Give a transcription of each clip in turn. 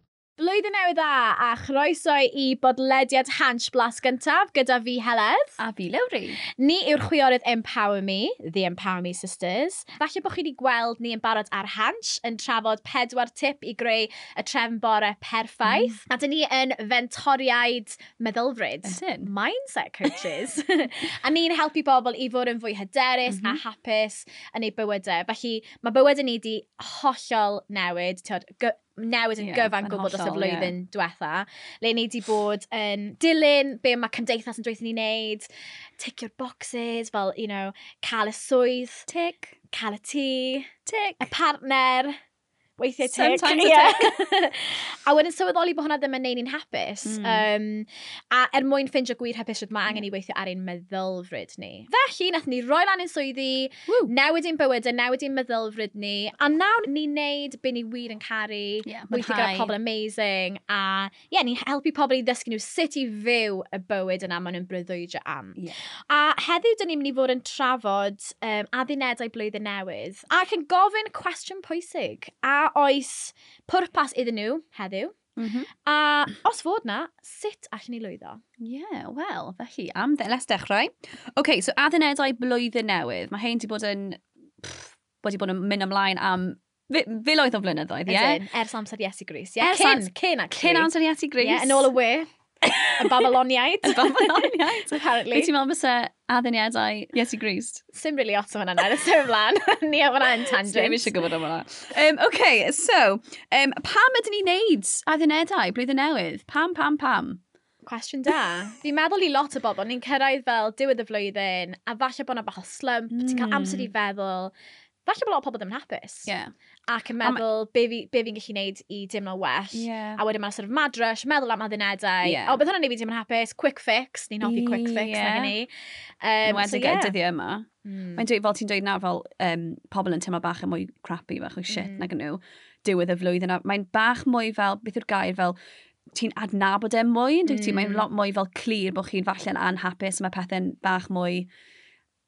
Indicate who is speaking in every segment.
Speaker 1: Bore newydd dda a chroeso i bodlediad Hans Blas gyntaf gyda fi Heledd.
Speaker 2: A fi Lewri.
Speaker 1: Ni yw'r chwiorydd Empower Me, The Empower Me Sisters. Falle bod chi wedi gweld ni yn barod ar Hans yn trafod pedwar tip i greu y trefn bore perffaith. A dyn ni yn fentoriaid meddylfryd.
Speaker 2: Ydyn.
Speaker 1: Mindset coaches. a ni'n helpu bobl i fod yn fwy hyderus a
Speaker 2: Mm-hmm.
Speaker 1: hapus yn eu bywydau. Felly mae bywydau ni wedi hollol newid. Tiod, gy- newid yn
Speaker 2: Ie,
Speaker 1: gyfan
Speaker 2: yn
Speaker 1: gwbl dros y
Speaker 2: hollol, ie.
Speaker 1: flwyddyn diwetha, le ni wedi bod yn dilyn be mae cymdeithas yn dweithio ni wneud, ticio'r boxes, fel, you know, cael y swydd,
Speaker 2: Tic.
Speaker 1: cael y tŷ,
Speaker 2: Tic.
Speaker 1: y partner, weithiau tic.
Speaker 2: Sometimes a
Speaker 1: tic. a wedyn sylweddoli bod hwnna ddim yn neud ni'n hapus.
Speaker 2: Mm.
Speaker 1: Um, a er mwyn ffindio gwir hapus, rydw mae angen i weithio ar ein meddylfryd ni. Felly, nath ni roi lan ein swyddi,
Speaker 2: Woo.
Speaker 1: newid ein bywydau, newid ein meddylfryd ni, a nawr ni'n neud be ni wir yn caru
Speaker 2: Yeah,
Speaker 1: weithio gyda pobl amazing a ie, yeah, ni'n helpu pobl i ddysgu nhw sut i fyw y bywyd yna maen nhw'n breuddwydio am.
Speaker 2: Ie.
Speaker 1: A heddiw, dyn ni'n mynd i fod yn trafod um, addunedau blwyddyn newydd ac yn gofyn cwestiwn pwysig a oes pwrpas iddyn nhw heddiw Mm-hmm. a os fod na, sut allan ni lwyddo?
Speaker 2: yeah, wel, felly, am dde, les dechrau. OK, so addunedau blwyddyn newydd. Mae hein wedi bod yn... Pff, wedi bod yn mynd ymlaen am... Fe, fel oedd o flynyddoedd, ie?
Speaker 1: As in, Ers amser Iesu Gris, ie? Yeah?
Speaker 2: Ers
Speaker 1: Cyn,
Speaker 2: ams-
Speaker 1: cyn actually.
Speaker 2: Cyn amser Iesu Gris.
Speaker 1: Yeah, yn ôl y we, y Babyloniaid.
Speaker 2: Y Babyloniaid. Be
Speaker 1: Apparently.
Speaker 2: ti'n meddwl fysa adduniadau Iesu Gris?
Speaker 1: Sim really os o hwnna nawr, ys ymlaen. Ni o hwnna yn tangent.
Speaker 2: Ddim eisiau gwybod am hwnna. Um, OK, so, um, pam ydyn ni'n neud addunedau blwyddyn newydd? Pam, pam, pam?
Speaker 1: Cwestiwn da. Fi'n meddwl i lot o bobl, ni'n cyrraedd fel diwedd y flwyddyn, a falle bod yna bach o slump, mm. ti'n cael
Speaker 2: Mm.
Speaker 1: amser i feddwl. Falle bod lot o pobl ddim yn hapus.
Speaker 2: Yeah.
Speaker 1: Ac yn meddwl be fi- be fi'n gallu neud i dimlo well.
Speaker 2: Yeah.
Speaker 1: A wedyn mae'n sort of madrush, meddwl am addunedau.
Speaker 2: Ie.
Speaker 1: O, beth hwnna'n ei fi ddim yn hapus, quick fix. Ni'n hoffi quick fix,
Speaker 2: Ie.
Speaker 1: yeah. ni.
Speaker 2: Yn
Speaker 1: Um,
Speaker 2: wedig y dyddiau yma.
Speaker 1: Mm.
Speaker 2: Mae'n dweud, fel ti'n dweud na, fel um, pobl yn teimlo bach yn mwy crappy, bach o shit mm. nag yn nhw, diwedd y flwyddyn. a Mae'n bach mwy fel, beth yw'r gair, fel ti'n adnabod e mwy, yn dweud ti?
Speaker 1: Mm.
Speaker 2: Mae'n lot mwy fel clir bod chi'n falle yn anhapus, mae pethau'n bach mwy,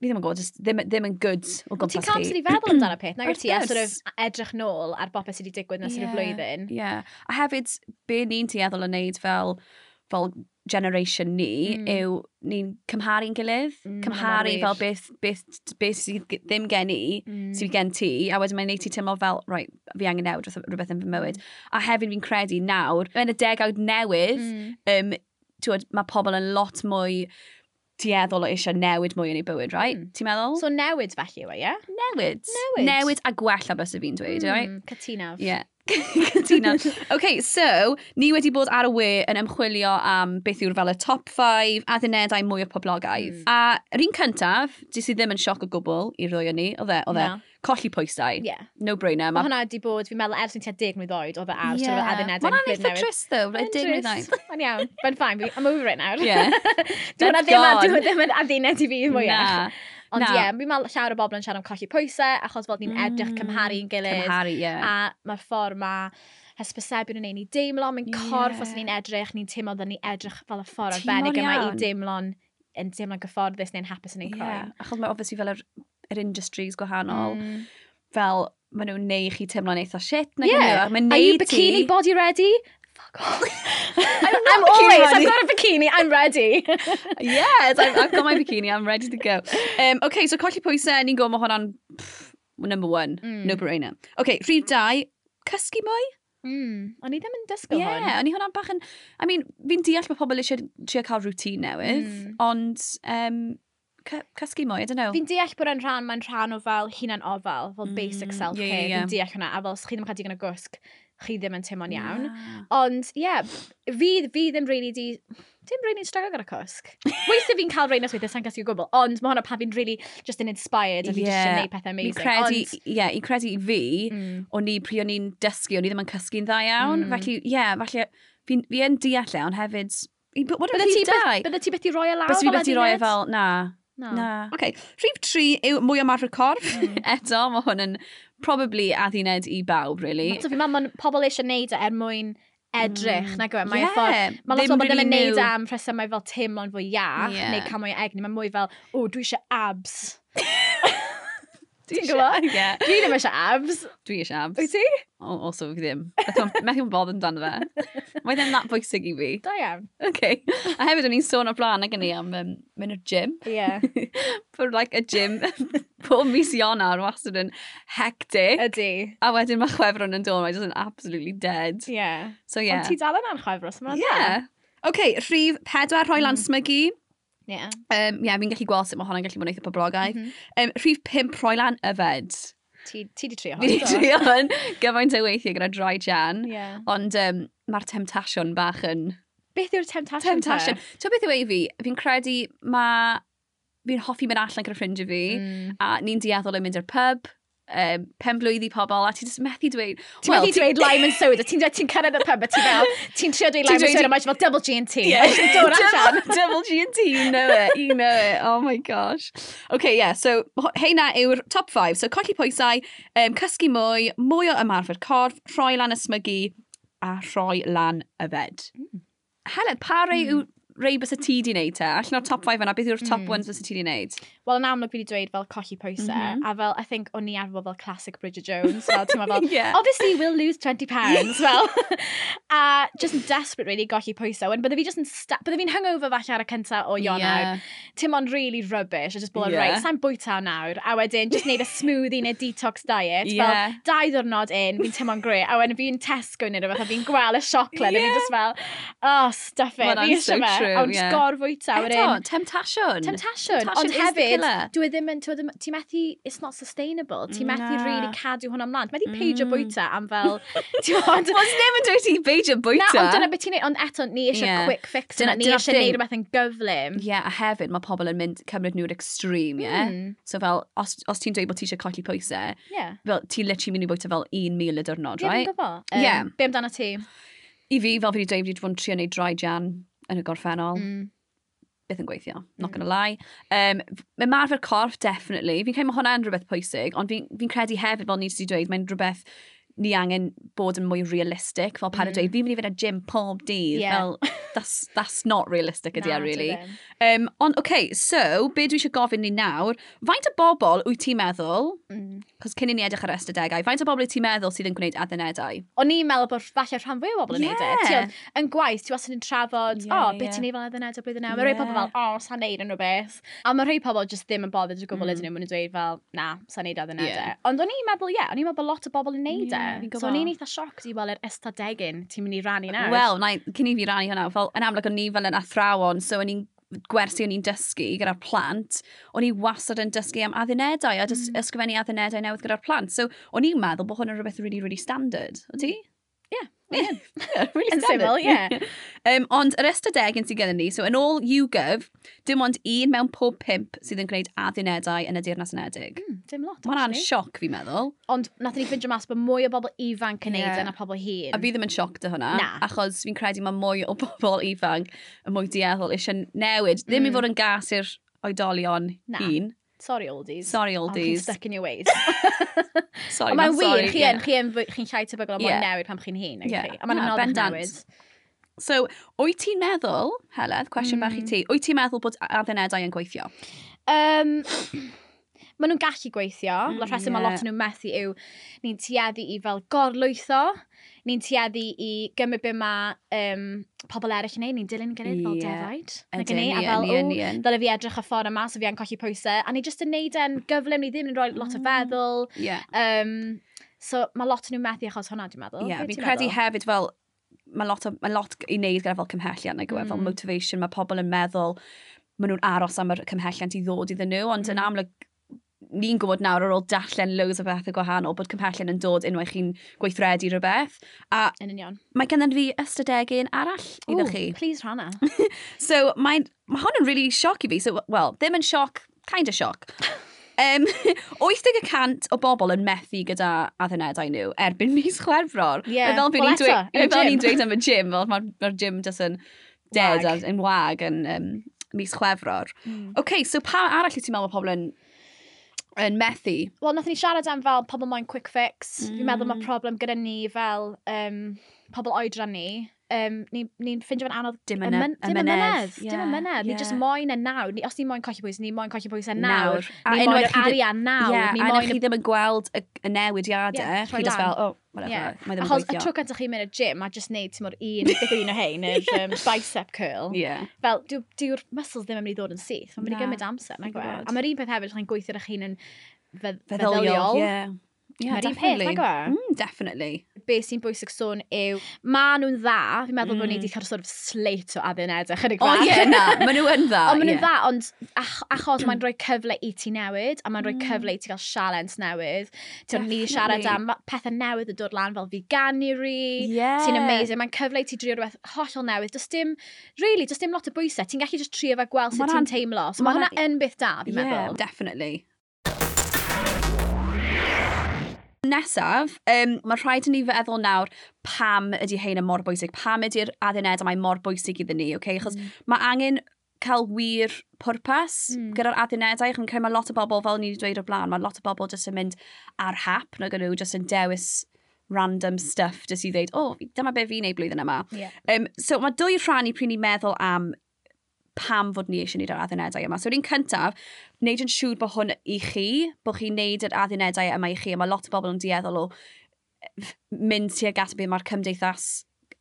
Speaker 2: fi ddim yn gwybod, jyst ddim, ddim yn good o gwmpas
Speaker 1: Ti'n
Speaker 2: chi.
Speaker 1: cael amser i feddwl amdano peth, nag wyt ti, a
Speaker 2: Wrth
Speaker 1: sort of
Speaker 2: gwrs.
Speaker 1: edrych nôl ar bopeth sydd wedi digwydd nes yeah. y flwyddyn.
Speaker 2: Ie. Yeah. A hefyd, be ni'n tueddol yn neud fel, fel generation ni
Speaker 1: Mm.
Speaker 2: mm. yw ni'n cymharu'n gilydd.
Speaker 1: Mm,
Speaker 2: Mm,
Speaker 1: hwnna'n
Speaker 2: cymharu
Speaker 1: wych.
Speaker 2: fel beth, beth, beth sydd g- ddim gen i,
Speaker 1: Mm.
Speaker 2: mm. sydd gen ti, a wedyn mae'n neud ti teimlo fel, right, fi angen newid wrth- rhywbeth yn fy mywyd. A hefyd fi'n credu nawr, yn y degawd newydd,
Speaker 1: Mm.
Speaker 2: um, twod, mae pobl yn lot mwy tueddol o eisiau newid mwy yn ei bywyd, right?
Speaker 1: Mm.
Speaker 2: Mm. Ti'n meddwl?
Speaker 1: So newid felly yw e, ie?
Speaker 2: newid.
Speaker 1: Newid.
Speaker 2: Newid a gwella bys y fi'n dweud, mm. right?
Speaker 1: Mm, Cytunaf.
Speaker 2: Yeah. Cytuno. OK, so, ni wedi bod ar y we yn ymchwilio am beth yw'r fel y top 5 addunedau mwy o poblogaidd.
Speaker 1: Mm.
Speaker 2: Mm. A yr un cyntaf, dis i ddim yn sioc o gwbl i'r ddwy o ni, oedd e, oedd e,
Speaker 1: Na.
Speaker 2: colli pwysau.
Speaker 1: Yeah.
Speaker 2: No brainer.
Speaker 1: Mae hwnna wedi bod, fi'n meddwl, ers yn tua dig mlynedd oed, oedd e ar, yeah. addunedau.
Speaker 2: Mae'n eitha trist, though, like, dim
Speaker 1: Mae'n
Speaker 2: yn ddain.
Speaker 1: Mae'n iawn. Mae'n ffain, I'm over it nawr.
Speaker 2: Yeah.
Speaker 1: Dwi'n hwnna
Speaker 2: That's
Speaker 1: ddim,
Speaker 2: gone.
Speaker 1: dwi'n ddim yn adduned i fi mwyach.
Speaker 2: Na.
Speaker 1: Ond
Speaker 2: na.
Speaker 1: ie, yeah, fi'n meddwl llawer o bobl yn siarad am colli pwysau, achos fel ni'n edrych
Speaker 2: Mm.
Speaker 1: cymharu yn gilydd.
Speaker 2: Cymharu, ie.
Speaker 1: A mae'r ffordd mae hysbysebion yn ei ni deimlo, mae'n corff
Speaker 2: Ie.
Speaker 1: os ni'n edrych, ni'n teimlo dda ni edrych fel y ffordd
Speaker 2: Timlo'n
Speaker 1: arbennig yma i
Speaker 2: iawn.
Speaker 1: deimlo'n yn deimlo'n gyfforddus neu'n hapus yn ein
Speaker 2: Ie.
Speaker 1: croen.
Speaker 2: Achos mae obviously fel yr, yr industries gwahanol,
Speaker 1: Mm.
Speaker 2: fel maen nhw'n neu chi teimlo'n eitha shit. nag 'yn
Speaker 1: Yeah.
Speaker 2: nhw? A mae'n
Speaker 1: Are you
Speaker 2: neud ti-
Speaker 1: bikini body ready? Fuck off. I'm,
Speaker 2: not bikini
Speaker 1: always, I've
Speaker 2: ready.
Speaker 1: got a bikini, I'm ready.
Speaker 2: yes, I've, I've got my bikini, I'm ready to go. Um, OK, so colli pwysau, ni'n gwybod mae hwnna'n pff, number one,
Speaker 1: Mm.
Speaker 2: no brainer. OK, rhif dau, cysgu mwy?
Speaker 1: mm, o'n i ddim yn
Speaker 2: Ie,
Speaker 1: dysgu hwn.
Speaker 2: yeah, o'n i hwnna'n bach yn... I mean, fi'n deall bod pobl eisiau trio cael routine newydd,
Speaker 1: Mm.
Speaker 2: ond um, cy- cysgu mwy, I don't know.
Speaker 1: Fi'n deall bod yn rhan, mae'n rhan o fel hunan ofal, fel basic
Speaker 2: Mm,
Speaker 1: self-care.
Speaker 2: ie, ie, ie.
Speaker 1: Fi'n deall hwnna, a fel os chi ddim yn cael digon o gwsg, chi ddim yn teimlo'n iawn. Ond, ie, yeah, fi, fi ddim really di... Dim really yn struggle gyda cwsg. Weithio fi'n cael rhain os weithio, sa'n gasgu gwbl, ond mae hwnna pan fi'n really just yn inspired a fi yeah. just
Speaker 2: Ie,
Speaker 1: yn neud pethau
Speaker 2: Fi'n
Speaker 1: amazing.
Speaker 2: credu,
Speaker 1: Ond,
Speaker 2: ie, yeah, i credu i fi,
Speaker 1: mm,
Speaker 2: o'n i pryd o'n i'n dysgu, o'n i ddim yn cysgu'n dda iawn.
Speaker 1: Mm.
Speaker 2: Felly, ie, yeah, falle, fi'n fi yn deall e, ond hefyd, i- but what am
Speaker 1: Bydde ti
Speaker 2: rhif dau?
Speaker 1: byth- bydde ti beth i roi e lawr?
Speaker 2: Bys fi
Speaker 1: fel
Speaker 2: beth i roi e
Speaker 1: adeuned?
Speaker 2: fel, na, Na. OK. Oh. Rhif tri yw mwy o marfer corff. Mm. Eto, mae hwn yn probably adduned i bawb, really.
Speaker 1: So fi'n meddwl ma'n pobl eisiau neud e er mwyn edrych, mm. nag yw e? Mae'n
Speaker 2: Ie,
Speaker 1: ffordd... Mae lot o
Speaker 2: ddim
Speaker 1: bobl ddim yn
Speaker 2: really
Speaker 1: neud
Speaker 2: nhw.
Speaker 1: e am rhesymau fel teimlo'n fwy iach,
Speaker 2: Ie.
Speaker 1: neu cael mwy o egni. Mae'n mwy fel, o, dwi eisiau abs.
Speaker 2: Ti'n
Speaker 1: gwbod?
Speaker 2: Ie.
Speaker 1: Dwi ddim eisiau abs.
Speaker 2: Dwi eisiau abs.
Speaker 1: Wyt ti?
Speaker 2: O- Also, fi ddim. Methu bod yn dan fe. Mae ddim that bwysig i fi.
Speaker 1: Da iawn.
Speaker 2: Okay. A hefyd o'n i'n sôn o blaen ag yn i am um, mynd i'r gym.
Speaker 1: Ie.
Speaker 2: For like a gym. Pob mis Ionar wastad yn hectic.
Speaker 1: Ydy.
Speaker 2: A wedyn mae chwefron yn dod, mae jyst yn absolutely dead.
Speaker 1: Ie.
Speaker 2: So
Speaker 1: Ond
Speaker 2: yeah.
Speaker 1: ti dal yna'n chwefros yma?
Speaker 2: Yeah. Okay, e? rhif pedwar rhoi lan smygu.
Speaker 1: Ie.
Speaker 2: Um, yeah, fi'n gallu gweld sut mae hwnna'n gallu bod yn eitha poblogaidd.
Speaker 1: Mhm.
Speaker 2: Um, rhif pimp rhoi lan yfed.
Speaker 1: Ti ti di trio
Speaker 2: Fi
Speaker 1: hwn.
Speaker 2: wedi
Speaker 1: do?
Speaker 2: trio hwn gyfaint o weithiau gyda dry jan.
Speaker 1: Ie.
Speaker 2: Ond um, mae'r temptation bach yn...
Speaker 1: Beth yw'r temptation? te?
Speaker 2: Temptation. Ti'n gwbod beth yw ei fi? Fi'n credu mae... Fi'n hoffi mynd allan gyda ffrindiau fi.
Speaker 1: Mm.
Speaker 2: A ni'n dieddol yn mynd i'r pub. Um, pen blwydd i pobl. A ti jyst methu dweud...
Speaker 1: Ti'n
Speaker 2: "Wel,
Speaker 1: well,
Speaker 2: ti-
Speaker 1: dweud lime and soda, ti'n dweud ti'n cyrraedd y pub, a ti fel, ti'n trio dweud
Speaker 2: Ti'n
Speaker 1: lime and
Speaker 2: dweud-
Speaker 1: soda, mae'n fel double G&T.
Speaker 2: Yeah.
Speaker 1: Ti'n dod allan.
Speaker 2: double, double G and T, you know it, you know it. Oh my gosh. Okay, yeah, so ho- heina yw'r top 5. So colli pwysau, um, cysgu mwy, mwy o ymarfer corff, rhoi lan ysmygu, a rhoi lan yfed. Heled, pa rei yw rei bys y ti di wneud te? Allan o'r top 5 yna, beth yw'r top 1 bys y ti di wneud?
Speaker 1: Wel, yn amlwg fi wedi dweud fel colli pwysau,
Speaker 2: Mhm.
Speaker 1: a fel, I think, o'n i arfer fel classic Bridget Jones, fel, ti'n meddwl, fel,
Speaker 2: Yeah.
Speaker 1: obviously we'll lose 20 pounds, fel. a just yn desperate, really, i golli pwysau. Wen, bydde fi just yn, sta- bydde fi'n hungover falle ar y cyntaf o Ionawr. Tim ond really rubbish, a just bod,
Speaker 2: Yeah.
Speaker 1: yeah. right, sa'n bwyta nawr, a wedyn, just neud a smoothie neu detox diet,
Speaker 2: Yeah.
Speaker 1: fel, dau ddwrnod in, fi'n tim ond gre, a wedyn fi'n Tesco neu rhywbeth, a fi'n gweld y siocled, yeah. a
Speaker 2: Yeah.
Speaker 1: fi'n just fel, oh, stuff it,
Speaker 2: Wel,
Speaker 1: fi
Speaker 2: that's so
Speaker 1: eisiau fe,
Speaker 2: true,
Speaker 1: a wedyn
Speaker 2: yeah.
Speaker 1: just gorfwyta,
Speaker 2: Eto,
Speaker 1: wedyn,
Speaker 2: temptasiwn.
Speaker 1: Temptation,
Speaker 2: Temptation
Speaker 1: ond
Speaker 2: is the
Speaker 1: hefyd,
Speaker 2: killer.
Speaker 1: dwi ddim yn, dwi ddim- ti methu, it's not sustainable, ti methu
Speaker 2: Na.
Speaker 1: really cadw hwnna ymlaen. Ti methu peidio
Speaker 2: Mm.
Speaker 1: bwyta am fel, ti'n bod...
Speaker 2: Wel, ddim yn dweud i beidio
Speaker 1: Na,
Speaker 2: bwyta.
Speaker 1: ond dyna beth ti'n neud, ond eto, ni eisiau
Speaker 2: Ie.
Speaker 1: quick fix,
Speaker 2: Dyna-
Speaker 1: dyna, ni
Speaker 2: dyna'r
Speaker 1: eisiau
Speaker 2: thing.
Speaker 1: neud rhywbeth yn gyflym.
Speaker 2: Ie, yeah, a hefyd mae pobl yn mynd cymryd nhw'r extreme, ie? Yeah?
Speaker 1: Mm.
Speaker 2: So fel, os, os ti'n dweud bod ti eisiau colli pwysau,
Speaker 1: Yeah.
Speaker 2: fel ti'n literally mynd i bwyta fel 1 mil y diwrnod,
Speaker 1: Ie, fi'n
Speaker 2: right?
Speaker 1: gwybod.
Speaker 2: Ie.
Speaker 1: Be amdano ti?
Speaker 2: I fi, fel fi wedi dweud, fi wedi bod yn trio neud dry jan yn y gorffennol.
Speaker 1: Mm.
Speaker 2: Beth yn gweithio,
Speaker 1: Hmm.
Speaker 2: not gonna lie. Um, mae marfer corff, definitely. Fi'n credu mae hwnna yn rhywbeth pwysig, ond fi'n fi credu hefyd, fel ni wedi dweud, mae'n rhywbeth ni angen bod yn mwy realistic. Fel pan mm. dweud, fi'n mynd i fynd â gym pob dydd.
Speaker 1: Hmm. Ie.
Speaker 2: Fel, that's, that's not realistic ydy
Speaker 1: Na,
Speaker 2: e,
Speaker 1: ti
Speaker 2: really.
Speaker 1: ddim.
Speaker 2: Um, ond, oce, okay, so, be dwi eisiau gofyn ni nawr, faint o bobl wyt ti'n meddwl,
Speaker 1: Mm.
Speaker 2: cos cyn i ni edrych ar ystadegau, faint o bobl wyt ti'n meddwl sydd yn gwneud adnodau?
Speaker 1: O'n i'n meddwl bod falle rhan fwy o bobl yn neud e.
Speaker 2: Ie.
Speaker 1: Ti oedd- Yn gwaith, ti wastad yn trafod,
Speaker 2: Ie,
Speaker 1: o, oh,
Speaker 2: ie,
Speaker 1: beth
Speaker 2: ie.
Speaker 1: ti'n neud fel edrych yn edrych blwyddyn nawr. Mae rhai pobl fel,
Speaker 2: Ie.
Speaker 1: o, oh, sa'n neud yn rhywbeth. A mae rhai pobl just ddim yn bothered o gwbl ydyn nhw. Mae'n dweud fel, na, sa'n neud edrych yn
Speaker 2: Mm. Ie.
Speaker 1: edrych. Ond o'n i'n meddwl, ie, o'n i'n meddwl bod lot o bobl yn neud e.
Speaker 2: Ie, fi'n
Speaker 1: So o'n i'n
Speaker 2: gwbo.
Speaker 1: eitha sioc i weld yr ystadegyn ti'n mynd i rannu nawr.
Speaker 2: Wel, na, i- cyn i fi rannu hwnna, fel, yn amlwg o'n ni fel yn athrawon, so o'n i'n gwersi o'n i'n dysgu gyda'r plant, o'n i wastad yn dysgu am adnodau, a dys,
Speaker 1: Mm.
Speaker 2: ysgrifennu adnodau newydd gyda'r plant. So, o'n i'n meddwl bod hwn yn rhywbeth really, really standard. O ti?
Speaker 1: Mm. Ie,
Speaker 2: Yeah, really
Speaker 1: Yn
Speaker 2: standard.
Speaker 1: syml, ie.
Speaker 2: Um, ond yr ystadegyn sydd gyda ni, so yn ôl YouGov, dim ond un mewn pob pimp sydd yn gwneud addunedau yn y Deyrnas Unedig.
Speaker 1: Hmm, Dim lot,
Speaker 2: Mae hwnna'n
Speaker 1: actually.
Speaker 2: sioc, fi'n meddwl.
Speaker 1: Ond nath ni ffindio mas bod mwy o bobl ifanc yn neud
Speaker 2: Ie.
Speaker 1: e na pobl hun.
Speaker 2: A fi ddim yn sioc dy hwnna,
Speaker 1: Na.
Speaker 2: achos fi'n credu mae mwy o bobl ifanc yn mwy dieddol eisiau newid. Ddim i fod yn gas i'r oedolion
Speaker 1: Mm. Na.
Speaker 2: hun.
Speaker 1: Sorry, oldies.
Speaker 2: Sorry,
Speaker 1: I'll keep
Speaker 2: oldies.
Speaker 1: stuck in your ways.
Speaker 2: Sorry,
Speaker 1: Ond mae'n wir,
Speaker 2: sorry,
Speaker 1: chi
Speaker 2: ie.
Speaker 1: yn, chi yn, fwy- chi'n llai tebygol am
Speaker 2: Ie.
Speaker 1: yeah. newid pam chi'n hun.
Speaker 2: Ie.
Speaker 1: Yeah. A mae'n
Speaker 2: Na,
Speaker 1: anodd i'ch
Speaker 2: bendant.
Speaker 1: newid.
Speaker 2: So, wyt ti'n meddwl, Heledd, cwestiwn bach i
Speaker 1: Mm.
Speaker 2: ti, wyt ti'n meddwl bod addunedau yn gweithio?
Speaker 1: Um, Maen nhw'n gallu gweithio. Mm,
Speaker 2: Mm,
Speaker 1: rheswm yeah.
Speaker 2: ie.
Speaker 1: mae lot o nhw'n methu yw ni'n tueddu i fel gorlwytho, ni'n tueddu i gymryd be mae um, pobl eraill yn ei, ni'n dilyn gilydd fel
Speaker 2: Ie.
Speaker 1: defaid. Nag
Speaker 2: Ydyn
Speaker 1: yn ni, a
Speaker 2: ni,
Speaker 1: fel,
Speaker 2: ni yn, ni
Speaker 1: o,
Speaker 2: yn.
Speaker 1: ddyle fi edrych y ffordd yma, so fi yn colli pwysau. A ni jyst yn neud e'n gyflym, ni ddim yn rhoi
Speaker 2: Mm.
Speaker 1: lot o feddwl.
Speaker 2: Ie.
Speaker 1: Um, so mae lot o nhw'n methu achos hwnna, dwi'n meddwl.
Speaker 2: Ie,
Speaker 1: Be'
Speaker 2: fi'n
Speaker 1: ti'n
Speaker 2: credu
Speaker 1: meddwl?
Speaker 2: hefyd fel, mae lot, o, mae lot i wneud gyda fel cymhelliad nag yw e,
Speaker 1: Hmm.
Speaker 2: fel motivation, mae pobl yn meddwl, maen nhw'n aros am yr cymhelliad i ddod iddyn nhw, ond
Speaker 1: Hmm.
Speaker 2: yn amlwg, ni'n gwybod nawr ar ôl darllen loads o bethau gwahanol bod cymhellion yn dod unwaith chi'n gweithredu rhywbeth. A
Speaker 1: Yn union.
Speaker 2: mae gennym fi ystadegyn arall iddo
Speaker 1: Ooh,
Speaker 2: chi.
Speaker 1: Please rhanna.
Speaker 2: So mae, mae hwn yn really sioc i fi. So, well, ddim yn sioc, kind of sioc. Um, 80% o bobl yn methu gyda addunedau nhw erbyn mis chwerfror.
Speaker 1: Ie.
Speaker 2: Fel be
Speaker 1: Wel,
Speaker 2: ni'n
Speaker 1: eto,
Speaker 2: dweud-
Speaker 1: yn y
Speaker 2: fel ni'n
Speaker 1: gym.
Speaker 2: dweud am y gym, fel mae'r ma gym just yn dead
Speaker 1: Wag.
Speaker 2: a yn wag yn um, mis chwerfror. Mm. OK, so pa arall wyt ti'n meddwl mae pobl yn, yn methu?
Speaker 1: Wel, nath ni siarad am fel pobl moyn quick fix. Mm. Fi'n meddwl mae problem gyda ni fel um, pobl oedran ni um, ni'n ni ffindio fan anodd
Speaker 2: Dim
Speaker 1: y
Speaker 2: yn
Speaker 1: myn- dim y mynedd. Dim y mynedd. Ni just
Speaker 2: just
Speaker 1: moyn e nawr. Ni, os ni moyn colli bwysau, ni moyn colli bwysau nawr.
Speaker 2: nawr. A
Speaker 1: Ni moyn yr
Speaker 2: unwaith chi di-
Speaker 1: arian nawr.
Speaker 2: Yeah,
Speaker 1: ni
Speaker 2: a unwaith
Speaker 1: moyn...
Speaker 2: chi ddim yn gweld y, y newidiadau,
Speaker 1: Yeah,
Speaker 2: chi
Speaker 1: troi
Speaker 2: just
Speaker 1: lan.
Speaker 2: fel, oh, whatever,
Speaker 1: Yeah.
Speaker 2: mae ddim yn
Speaker 1: Achos y
Speaker 2: gweithio.
Speaker 1: tro cyntaf chi'n mynd y gym a just neud ti'n mor un, beth un o hein, yr um, bicep curl.
Speaker 2: Yeah.
Speaker 1: Fel, dyw'r dyw dyw'r muscles ddim yn mynd i ddod yn syth. Mae'n mynd i
Speaker 2: Na,
Speaker 1: gymryd amser, na
Speaker 2: dwi'n
Speaker 1: gwe.
Speaker 2: gwbod.
Speaker 1: A mae'r un peth hefyd, chi'n gweithio'r eich hun yn fedd-
Speaker 2: Feddyliol.
Speaker 1: feddyliol.
Speaker 2: Yeah. Yeah,
Speaker 1: Mae'r un peth,
Speaker 2: definitely.
Speaker 1: nag
Speaker 2: Mm, definitely.
Speaker 1: Be sy'n bwysig sôn yw, ma nhw'n dda. Fi'n meddwl bod ni
Speaker 2: Mm.
Speaker 1: wedi cael sort of slate o addenedau chydig
Speaker 2: O,
Speaker 1: bach.
Speaker 2: ie, na, maen nhw yn dda.
Speaker 1: Ond maen
Speaker 2: ie.
Speaker 1: nhw'n dda, ond ach- achos mae'n rhoi cyfle i ti newid, a mae'n rhoi
Speaker 2: Mm.
Speaker 1: cyfle i ti gael sialens newydd. Ti'n ni siarad
Speaker 2: Definitely.
Speaker 1: am ma- pethau newydd yn dod lan fel veganuary,
Speaker 2: Ie.
Speaker 1: ti'n amazing, mae'n cyfle i ti drio rhywbeth hollol newydd. Does dim, really, does dim lot o bwysau. Ti'n gallu just trio fe gweld
Speaker 2: Ma'
Speaker 1: sut
Speaker 2: ran-
Speaker 1: ti'n teimlo. So
Speaker 2: ma'
Speaker 1: mae hwnna
Speaker 2: ran-
Speaker 1: yn beth da, fi'n meddwl.
Speaker 2: definitely. Nesaf, um, mae'n rhaid i ni feddwl nawr pam ydy hein yn mor bwysig, pam ydy'r addunedau mae mor bwysig iddyn ni, okay? achos mm. mae angen cael wir pwrpas mm.
Speaker 1: Mm.
Speaker 2: gyda'r addunedau. Chi'n credu mae lot o bobl, fel ni wedi dweud o blaen, mae lot o bobl jyst yn mynd ar hap, nag nhw jyst yn dewis random stuff jyst i ddeud, o, oh, dyma be fi'n ei blwyddyn yma.
Speaker 1: Ie.
Speaker 2: Um, so mae dwy rhan i pryd ni'n meddwl am pam fod ni eisiau gwneud yr addunedau yma. So yr un cyntaf, wneud yn siŵr bod hwn i chi, bod chi'n wneud yr addunedau yma i chi, a mae lot o bobl yn dieddol o mynd tuag at beth mae'r cymdeithas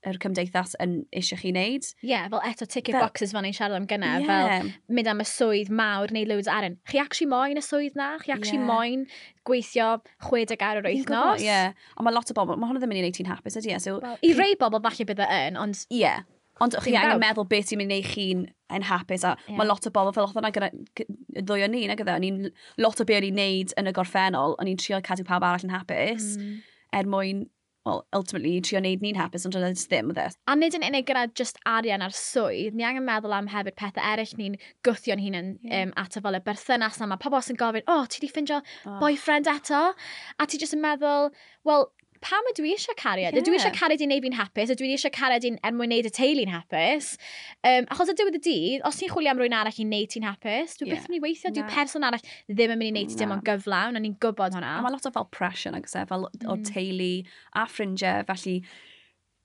Speaker 2: yr cymdeithas yn eisiau chi wneud.
Speaker 1: Ie, fel eto ticket
Speaker 2: Fel-
Speaker 1: boxes fan i'n siarad am gyna, fel mynd am y swydd mawr neu loads ar Chi actually moyn y swydd na? Chi actually
Speaker 2: Ie.
Speaker 1: moyn gweithio 60 awr yr
Speaker 2: Fi'n
Speaker 1: wythnos?
Speaker 2: gwybod, Ie. Ond mae lot o bobl, mae hwnna ddim yn ei wneud ti'n hapus, ydy e? So,
Speaker 1: Wel, I rei bobl falle bydde yn, ond
Speaker 2: Ie. Yeah. Ond chi
Speaker 1: Dim
Speaker 2: angen
Speaker 1: bawb.
Speaker 2: meddwl beth sy'n mynd i wneud chi'n yn hapus a
Speaker 1: Ie.
Speaker 2: mae lot o bobl fel oedd yna gyda gy- y ddwy o ni nag e? ydw ni'n lot o beth ni'n neud yn y gorffennol o'n ni'n trio cadw pawb arall yn hapus mm. er mwyn well, ultimately trio neud ni'n hapus ond dyna jyst ddim ydw
Speaker 1: A nid yn unig gyda just arian ar swydd, ni angen meddwl am hefyd pethau eraill ni'n gwythio'n hunan
Speaker 2: Ie.
Speaker 1: yeah. um, at y fel y berthynas yma. Pobl sy'n gofyn, o, oh, ti di ffindio boyfriend eto? A ti jyst yn meddwl, wel, pam ydw i eisiau cariad? Ydw i
Speaker 2: Ie.
Speaker 1: eisiau cariad i'n neud fi'n hapus? Ydw i eisiau cariad i'n er mwyn neud y teulu'n hapus? Um, achos y diwedd y dydd, os ti'n chwilio am rwy'n arall i'n neud ti'n hapus, dwi
Speaker 2: Ie.
Speaker 1: yeah. beth yn ei weithio,
Speaker 2: Na.
Speaker 1: dwi person arall ddim yn mynd i neud ti dim
Speaker 2: Na.
Speaker 1: ond gyflawn, a ni'n gwybod
Speaker 2: A
Speaker 1: hwnna.
Speaker 2: mae lot o fel pressure nag ydw fel o
Speaker 1: Mm.
Speaker 2: teulu a ffrindiau felly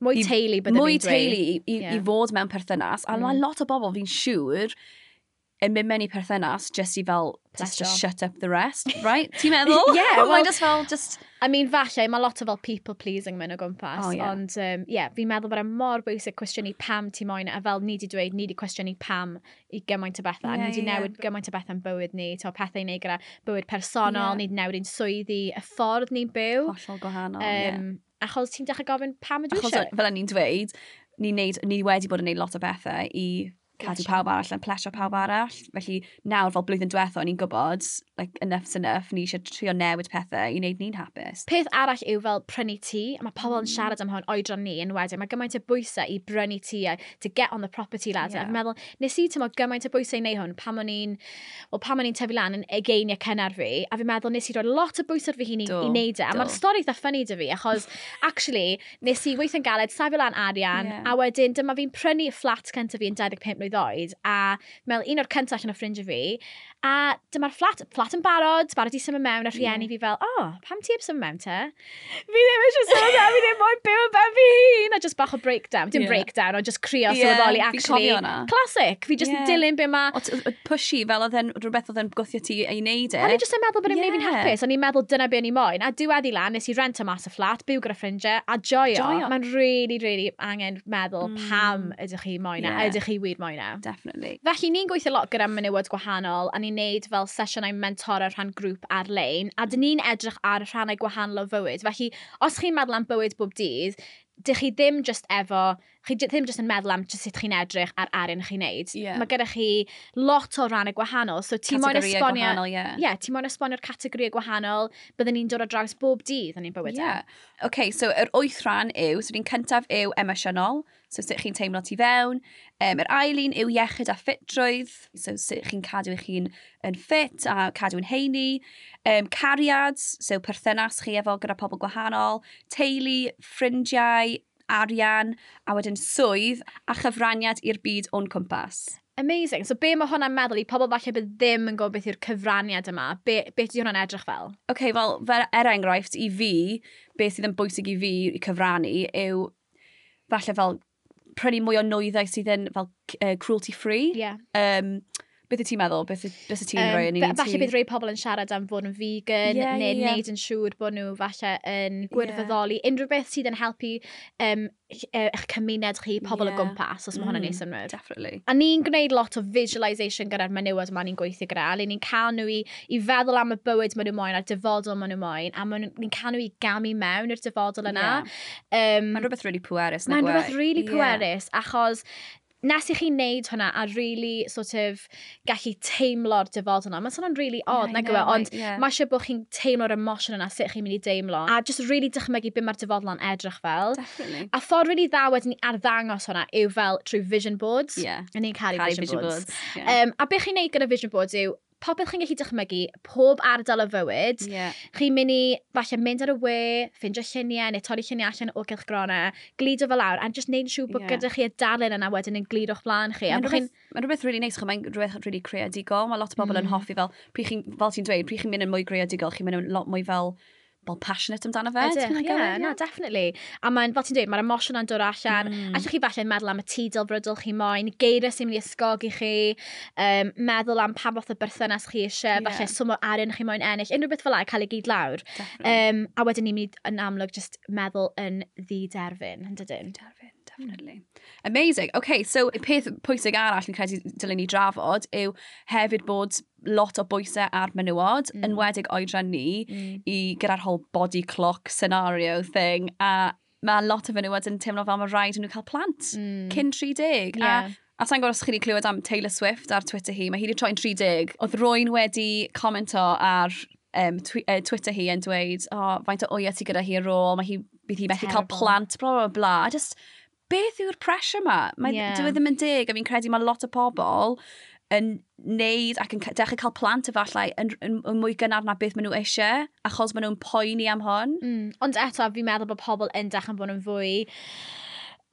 Speaker 1: Mwy
Speaker 2: i-
Speaker 1: teulu bydde
Speaker 2: mwy
Speaker 1: fi'n dweud.
Speaker 2: teulu i, i,
Speaker 1: Ie.
Speaker 2: i fod mewn perthynas a mae
Speaker 1: Mm.
Speaker 2: lot o bobl fi'n siŵr yn mynd mewn i perthynas just i fel just to
Speaker 1: Plesio.
Speaker 2: shut up the rest, right? Ti'n meddwl?
Speaker 1: Ie,
Speaker 2: Mae'n
Speaker 1: wel-
Speaker 2: just fel just
Speaker 1: I mean, falle, mae lot o fel people pleasing mewn o gwmpas.
Speaker 2: O, ie.
Speaker 1: Ond, um, yeah, fi'n meddwl bod e mor bwysig cwestiynu pam ti moyn, a fel ni di dweud, ni di cwestiynu pam i gymaint o bethau.
Speaker 2: Ie,
Speaker 1: Yeah, ni di
Speaker 2: ie.
Speaker 1: newid gymaint o bethau yn bywyd ni, to pethau i wneud gyda bywyd personol,
Speaker 2: Ie.
Speaker 1: ni di newid ein swyddi, y ffordd ni'n byw.
Speaker 2: hollol gwahanol. ie.
Speaker 1: um, Achos ti'n dechrau gofyn pam ydw i
Speaker 2: Achos
Speaker 1: eisiau?
Speaker 2: fel ni'n dweud, ni, neud, ni wedi bod yn neud lot o bethau i cadw
Speaker 1: Plesio.
Speaker 2: pawb arall yn plesio pawb arall. Felly nawr fel blwyddyn diwethaf, ni'n gwybod, like, enough's enough, ni eisiau trio newid pethau i wneud ni'n hapus.
Speaker 1: Peth arall yw fel prynu tŷ, a mae pobl
Speaker 2: Mm.
Speaker 1: yn siarad am hwn oedran ni yn wedyn. Mae gymaint o bwysau i brynu tŷ a to get on the property ladder.
Speaker 2: Ie.
Speaker 1: Yeah. Fi'n meddwl, nes i tymor gymaint o bwysau i wneud hwn pan o'n i'n, wel pan o'n i'n tyfu lan yn egeiniau cynnar fi, a fi'n meddwl nes i roi lot o bwysau ar fy hun i,
Speaker 2: Do,
Speaker 1: i wneud e. A
Speaker 2: do.
Speaker 1: mae'r stori eitha ffynnu dy fi, achos actually, nes i weithio'n galed, safio lan arian,
Speaker 2: Ie.
Speaker 1: yeah. a wedyn dyma fi'n prynu fflat cyntaf fi yn 25 mlynedd oed, a fel un o'r cyntaf allan o ffrindiau fi, a dyma'r fflat, fflat yn barod, barod i symud mewn, a rhieni fi fel, o, oh, pam ti heb symud mewn te? fi ddim eisiau sôn am, fi ddim moyn byw yn ben fi hun, a just bach o breakdown, dim
Speaker 2: Ie.
Speaker 1: yeah. breakdown, ond just crio
Speaker 2: Ie,
Speaker 1: yeah, sylweddoli,
Speaker 2: fi'n
Speaker 1: actually,
Speaker 2: cofio hwnna.
Speaker 1: classic, fi just
Speaker 2: Ie.
Speaker 1: yeah. dilyn be mae
Speaker 2: O, t- o pushy, fel oedd e'n rhywbeth oedd e'n gwythio ti i wneud
Speaker 1: O'n i
Speaker 2: e.
Speaker 1: jyst yn meddwl bod yn yeah. fi'n
Speaker 2: Ie.
Speaker 1: hapus, o'n i'n meddwl dyna be o'n i moyn. A diwedd i lan, nes i rent o mas y fflat, byw gyda ffrindiau, a joio.
Speaker 2: Joio.
Speaker 1: Mae'n really, really angen meddwl
Speaker 2: Mm.
Speaker 1: mm. pam ydych chi moyn yeah.
Speaker 2: Ie.
Speaker 1: ydych chi wir moyn e.
Speaker 2: Definitely.
Speaker 1: Felly ni'n gweithio lot gyda menywod gwahanol a ni'n neud fel sesiynau mentor ar rhan grŵp ar-lein a dyn ni'n edrych ar rhannau gwahanol o fywyd. Felly os chi'n meddwl am bywyd bob dydd, dych chi ddim just efo, chi j- ddim just yn meddwl am just sut chi'n edrych ar arian chi'n neud.
Speaker 2: Ie.
Speaker 1: Mae gyda chi lot o rhannau gwahanol, so ti moyn
Speaker 2: Categoriau
Speaker 1: esbonio...
Speaker 2: gwahanol, ie.
Speaker 1: Ie, yeah, ti'n moyn esbonio'r categoriau gwahanol, bydden ni'n dod ar draws bob dydd yn ein bywyd. e.
Speaker 2: Yeah. OK, so yr wyth rhan yw, so ni'n cyntaf yw emosiynol, so sut chi'n teimlo tu fewn. Um, yr ail un yw iechyd a ffitrwydd, so sut chi'n cadw eich hun yn ffit a cadw yn heini. Um, cariad, so perthynas chi efo gyda pobl gwahanol. Teulu, ffrindiau, arian, a wedyn swydd a chyfraniad i'r byd o'n cwmpas.
Speaker 1: Amazing. So be mae hwnna'n meddwl i pobl falle bydd ddim yn gwybod beth yw'r cyfraniad yma? Be, beth yw hwnna'n edrych fel?
Speaker 2: OK, fel, fel er enghraifft, i fi, beth sydd yn bwysig i fi i cyfrannu yw falle fel prynu mwy o nwyddau sydd yn fel uh, cruelty free.
Speaker 1: Yeah.
Speaker 2: Um, beth y ti'n meddwl? Beth y ti'n um, rhoi yn un i
Speaker 1: falle bydd rhai pobl yn siarad am fod yn vegan,
Speaker 2: Ie,
Speaker 1: yeah, neu
Speaker 2: ie, ie.
Speaker 1: wneud yn siŵr bod nhw falle yn gwirfoddoli. Unrhyw beth sydd yn helpu um, eich- eh, eich cymuned chi, pobl
Speaker 2: Ie.
Speaker 1: o gwmpas, os mae hwnna'n
Speaker 2: Mm,
Speaker 1: ei synwyr.
Speaker 2: Definitely.
Speaker 1: A ni'n gwneud lot o visualisation gyda'r menywod yma ni'n gweithio gyda. A ni'n cael nhw i, i feddwl am y bywyd maen nhw moyn, a'r dyfodol maen nhw moyn, a maen nhw- ni'n cael nhw i gamu mewn i'r dyfodol yna.
Speaker 2: Ie.
Speaker 1: Um,
Speaker 2: Mae'n rhywbeth really pwerus. e?
Speaker 1: Mae'n rhywbeth really pwerus, achos nes i chi wneud hwnna a really sort of gallu teimlo'r dyfod yna. Mae'n swnio'n really odd, yeah, nag yw e, ond mae eisiau bod chi'n teimlo'r emotion yna, sut chi'n mynd i deimlo, a just really dychmygu beth mae'r dyfod yna'n edrych fel.
Speaker 2: Definitely.
Speaker 1: A ffordd really dda wedyn ni arddangos hwnna yw fel trwy vision boards.
Speaker 2: Ie.
Speaker 1: A ni'n caru
Speaker 2: Caru
Speaker 1: vision, boards.
Speaker 2: Ie.
Speaker 1: Um, a beth chi'n neud gyda vision boards yw, popeth chi'n gallu dychmygu, pob ardal y fywyd,
Speaker 2: Ie.
Speaker 1: Chi'n mynd i, falle, mynd ar y we, ffindio lluniau, neu torri lluniau allan o gylchgronau, glido fel lawr, a just neud yn siŵr bod
Speaker 2: Ie.
Speaker 1: gyda chi y darlun yna wedyn yn glido'ch blaen chi. A
Speaker 2: Mae'n
Speaker 1: bod chi'n...
Speaker 2: rhywbeth, ma rhywbeth really neis, chwa, mae'n rhywbeth really creadigol. Mae lot o bobl yn
Speaker 1: Mm.
Speaker 2: hoffi fel, pryd chi'n, fel ti'n dweud, pryd chi'n mynd yn mwy creadigol, chi'n mynd yn lot mwy fel, fel passionate amdano fe. ti'n
Speaker 1: Ydych,
Speaker 2: meddwl,
Speaker 1: ie,
Speaker 2: ie?
Speaker 1: na, definitely. A mae'n, fel ti'n dweud, mae'r emosiwn yn dod allan.
Speaker 2: Mm.
Speaker 1: Mm. Allwch chi falle meddwl am y tidl brydol chi moyn, geirau sy'n mynd i ysgogi chi, um, meddwl am pa fath o berthynas chi eisiau,
Speaker 2: Ie.
Speaker 1: yeah. falle swm o arian chi moyn ennill, unrhyw beth fel la, cael ei gyd lawr.
Speaker 2: Definitely.
Speaker 1: Um, a wedyn ni'n mynd i- yn amlwg just meddwl yn ddiderfyn, yn dydyn.
Speaker 2: Derfyn, definitely. Amazing. Okay, so y peth pwysig arall yn credu dylen ni drafod yw hefyd bod lot o bwysau ar menywod, mm. enwedig oedran ni,
Speaker 1: Mm.
Speaker 2: i gyda'r whole body clock scenario thing, a mae lot o fenywod yn teimlo fel mae rhaid i nhw cael plant
Speaker 1: Mm.
Speaker 2: cyn 30.
Speaker 1: Yeah.
Speaker 2: A A sa'n gwybod os chi wedi clywed am Taylor Swift ar Twitter hi, mae hi wedi troi'n 30. Oedd rwy'n wedi commento ar um, twi uh, Twitter hi yn dweud, o, oh, faint o oia ti gyda hi ar ôl, mae hi, bydd hi methu cael
Speaker 1: Terrible.
Speaker 2: plant, bla bla bla. A just, beth yw'r pressure ma? Mae
Speaker 1: Ie.
Speaker 2: yeah. dyw e ddim yn dig, a fi'n credu mae lot o pobl yn neud ac yn ca- dechrau cael plant efallai yn, yn, yn mwy gynnar na beth maen nhw eisiau, achos maen nhw'n poeni am hon.
Speaker 1: Mm. Ond eto, fi'n meddwl bod pobl yn dechrau'n bod yn fwy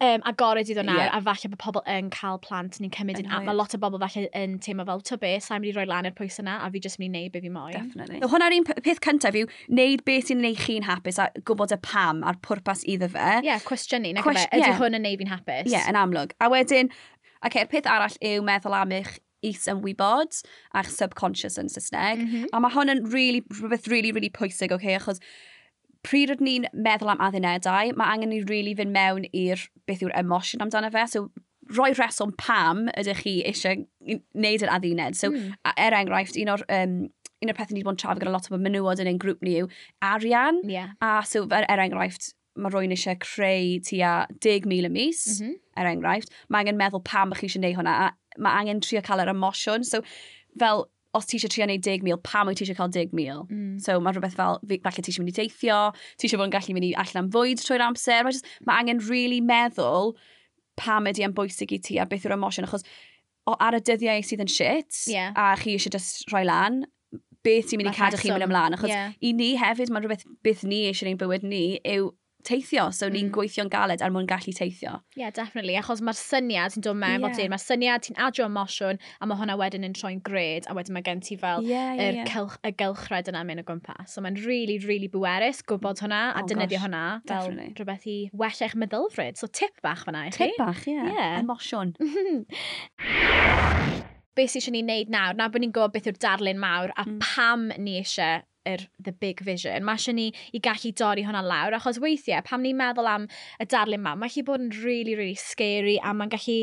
Speaker 1: um, agored iddo nawr,
Speaker 2: Ie.
Speaker 1: a falle bod pobl yn cael plant ni'n cymryd yn...
Speaker 2: Yn
Speaker 1: a-
Speaker 2: hwyr.
Speaker 1: Mae lot o bobl falle yn teimlo fel, to be, sa'n mynd i roi lan i'r pwys yna, a fi jyst mynd i neud beth fi moyn.
Speaker 2: Definitely. So, hwnna'r un p- peth cyntaf yw neud beth sy'n neud chi'n hapus a gwybod y pam a'r pwrpas iddo fe.
Speaker 1: Ie, yeah, cwestiynu, nag
Speaker 2: Cwest-
Speaker 1: yfe? Ydy
Speaker 2: ie.
Speaker 1: hwn yn neud fi'n hapus?
Speaker 2: Ie, yeah, yn amlwg. A wedyn, ac okay, peth arall yw meddwl am eich is ymwybod a'ch subconscious yn Saesneg. Mm
Speaker 1: Mhm.
Speaker 2: A mae hwn yn really, rhywbeth really, really pwysig, okay? achos pryd rydyn ni'n meddwl am addunedau, mae angen ni really fynd mewn i'r beth yw'r emosiwn amdano fe. So, roi reswm pam ydych chi eisiau i- wneud yr adduned. So,
Speaker 1: Mm.
Speaker 2: a- er enghraifft, un o'r, um, un o'r pethau ni wedi bod yn trafod gyda lot o menywod yn ein grŵp ni yw arian.
Speaker 1: Ie.
Speaker 2: A so, er, er enghraifft, mae rwy'n eisiau creu tua 10,000 y mis
Speaker 1: Mhm.
Speaker 2: er enghraifft, mae angen meddwl pam ych chi eisiau gwneud hwnna, a mae angen trio cael yr emosiwn. So, fel, os ti eisiau trio gwneud 10,000, pam wyt ti eisiau cael 10,000?
Speaker 1: Mm.
Speaker 2: So, mae rhywbeth fel, fi- falle ti eisiau mynd i deithio, ti eisiau fod yn gallu mynd i allan am fwyd trwy'r amser. Mae, just, mae angen really meddwl pam ydy am bwysig i ti a beth yw'r emosiwn, achos o, ar y dyddiau sydd yn shit,
Speaker 1: Ie.
Speaker 2: a chi eisiau just rhoi lan, beth sy'n mynd i
Speaker 1: Mae'r
Speaker 2: cadw chi mynd
Speaker 1: rheswm,
Speaker 2: ymlaen, achos
Speaker 1: ie.
Speaker 2: i ni hefyd, mae'n rhywbeth beth ni eisiau ein bywyd ni yw teithio, so ni'n
Speaker 1: Mm.
Speaker 2: gweithio'n galed er mwyn gallu teithio.
Speaker 1: Ie, yeah, definitely, achos mae'r syniad sy'n dod mewn,
Speaker 2: Ie.
Speaker 1: yeah. mae'r syniad ti'n adio emosiwn, a mae hwnna wedyn yn troi'n gred, a wedyn mae gen ti fel
Speaker 2: yeah,
Speaker 1: yr cylch, y gylchred yna mynd o gwmpas. So mae'n really, really bwerus gwybod hwnna a
Speaker 2: Oh,
Speaker 1: oh, defnyddio
Speaker 2: gosh.
Speaker 1: hwnna fel
Speaker 2: Definitely.
Speaker 1: rhywbeth i wella eich meddylfryd. So tip bach fan'na i chi.
Speaker 2: Tip bach, ie.
Speaker 1: Ie.
Speaker 2: Emosiwn.
Speaker 1: Be sy'n eisiau ni wneud nawr, na bod ni'n gwybod beth yw'r darlun mawr a
Speaker 2: Mm.
Speaker 1: pam ni eisiau yr the big vision. Mae eisiau ni i gallu dorri hwnna lawr, achos weithiau, pam ni'n meddwl am y darlun ma, mae chi bod yn really, really scary, a mae'n gallu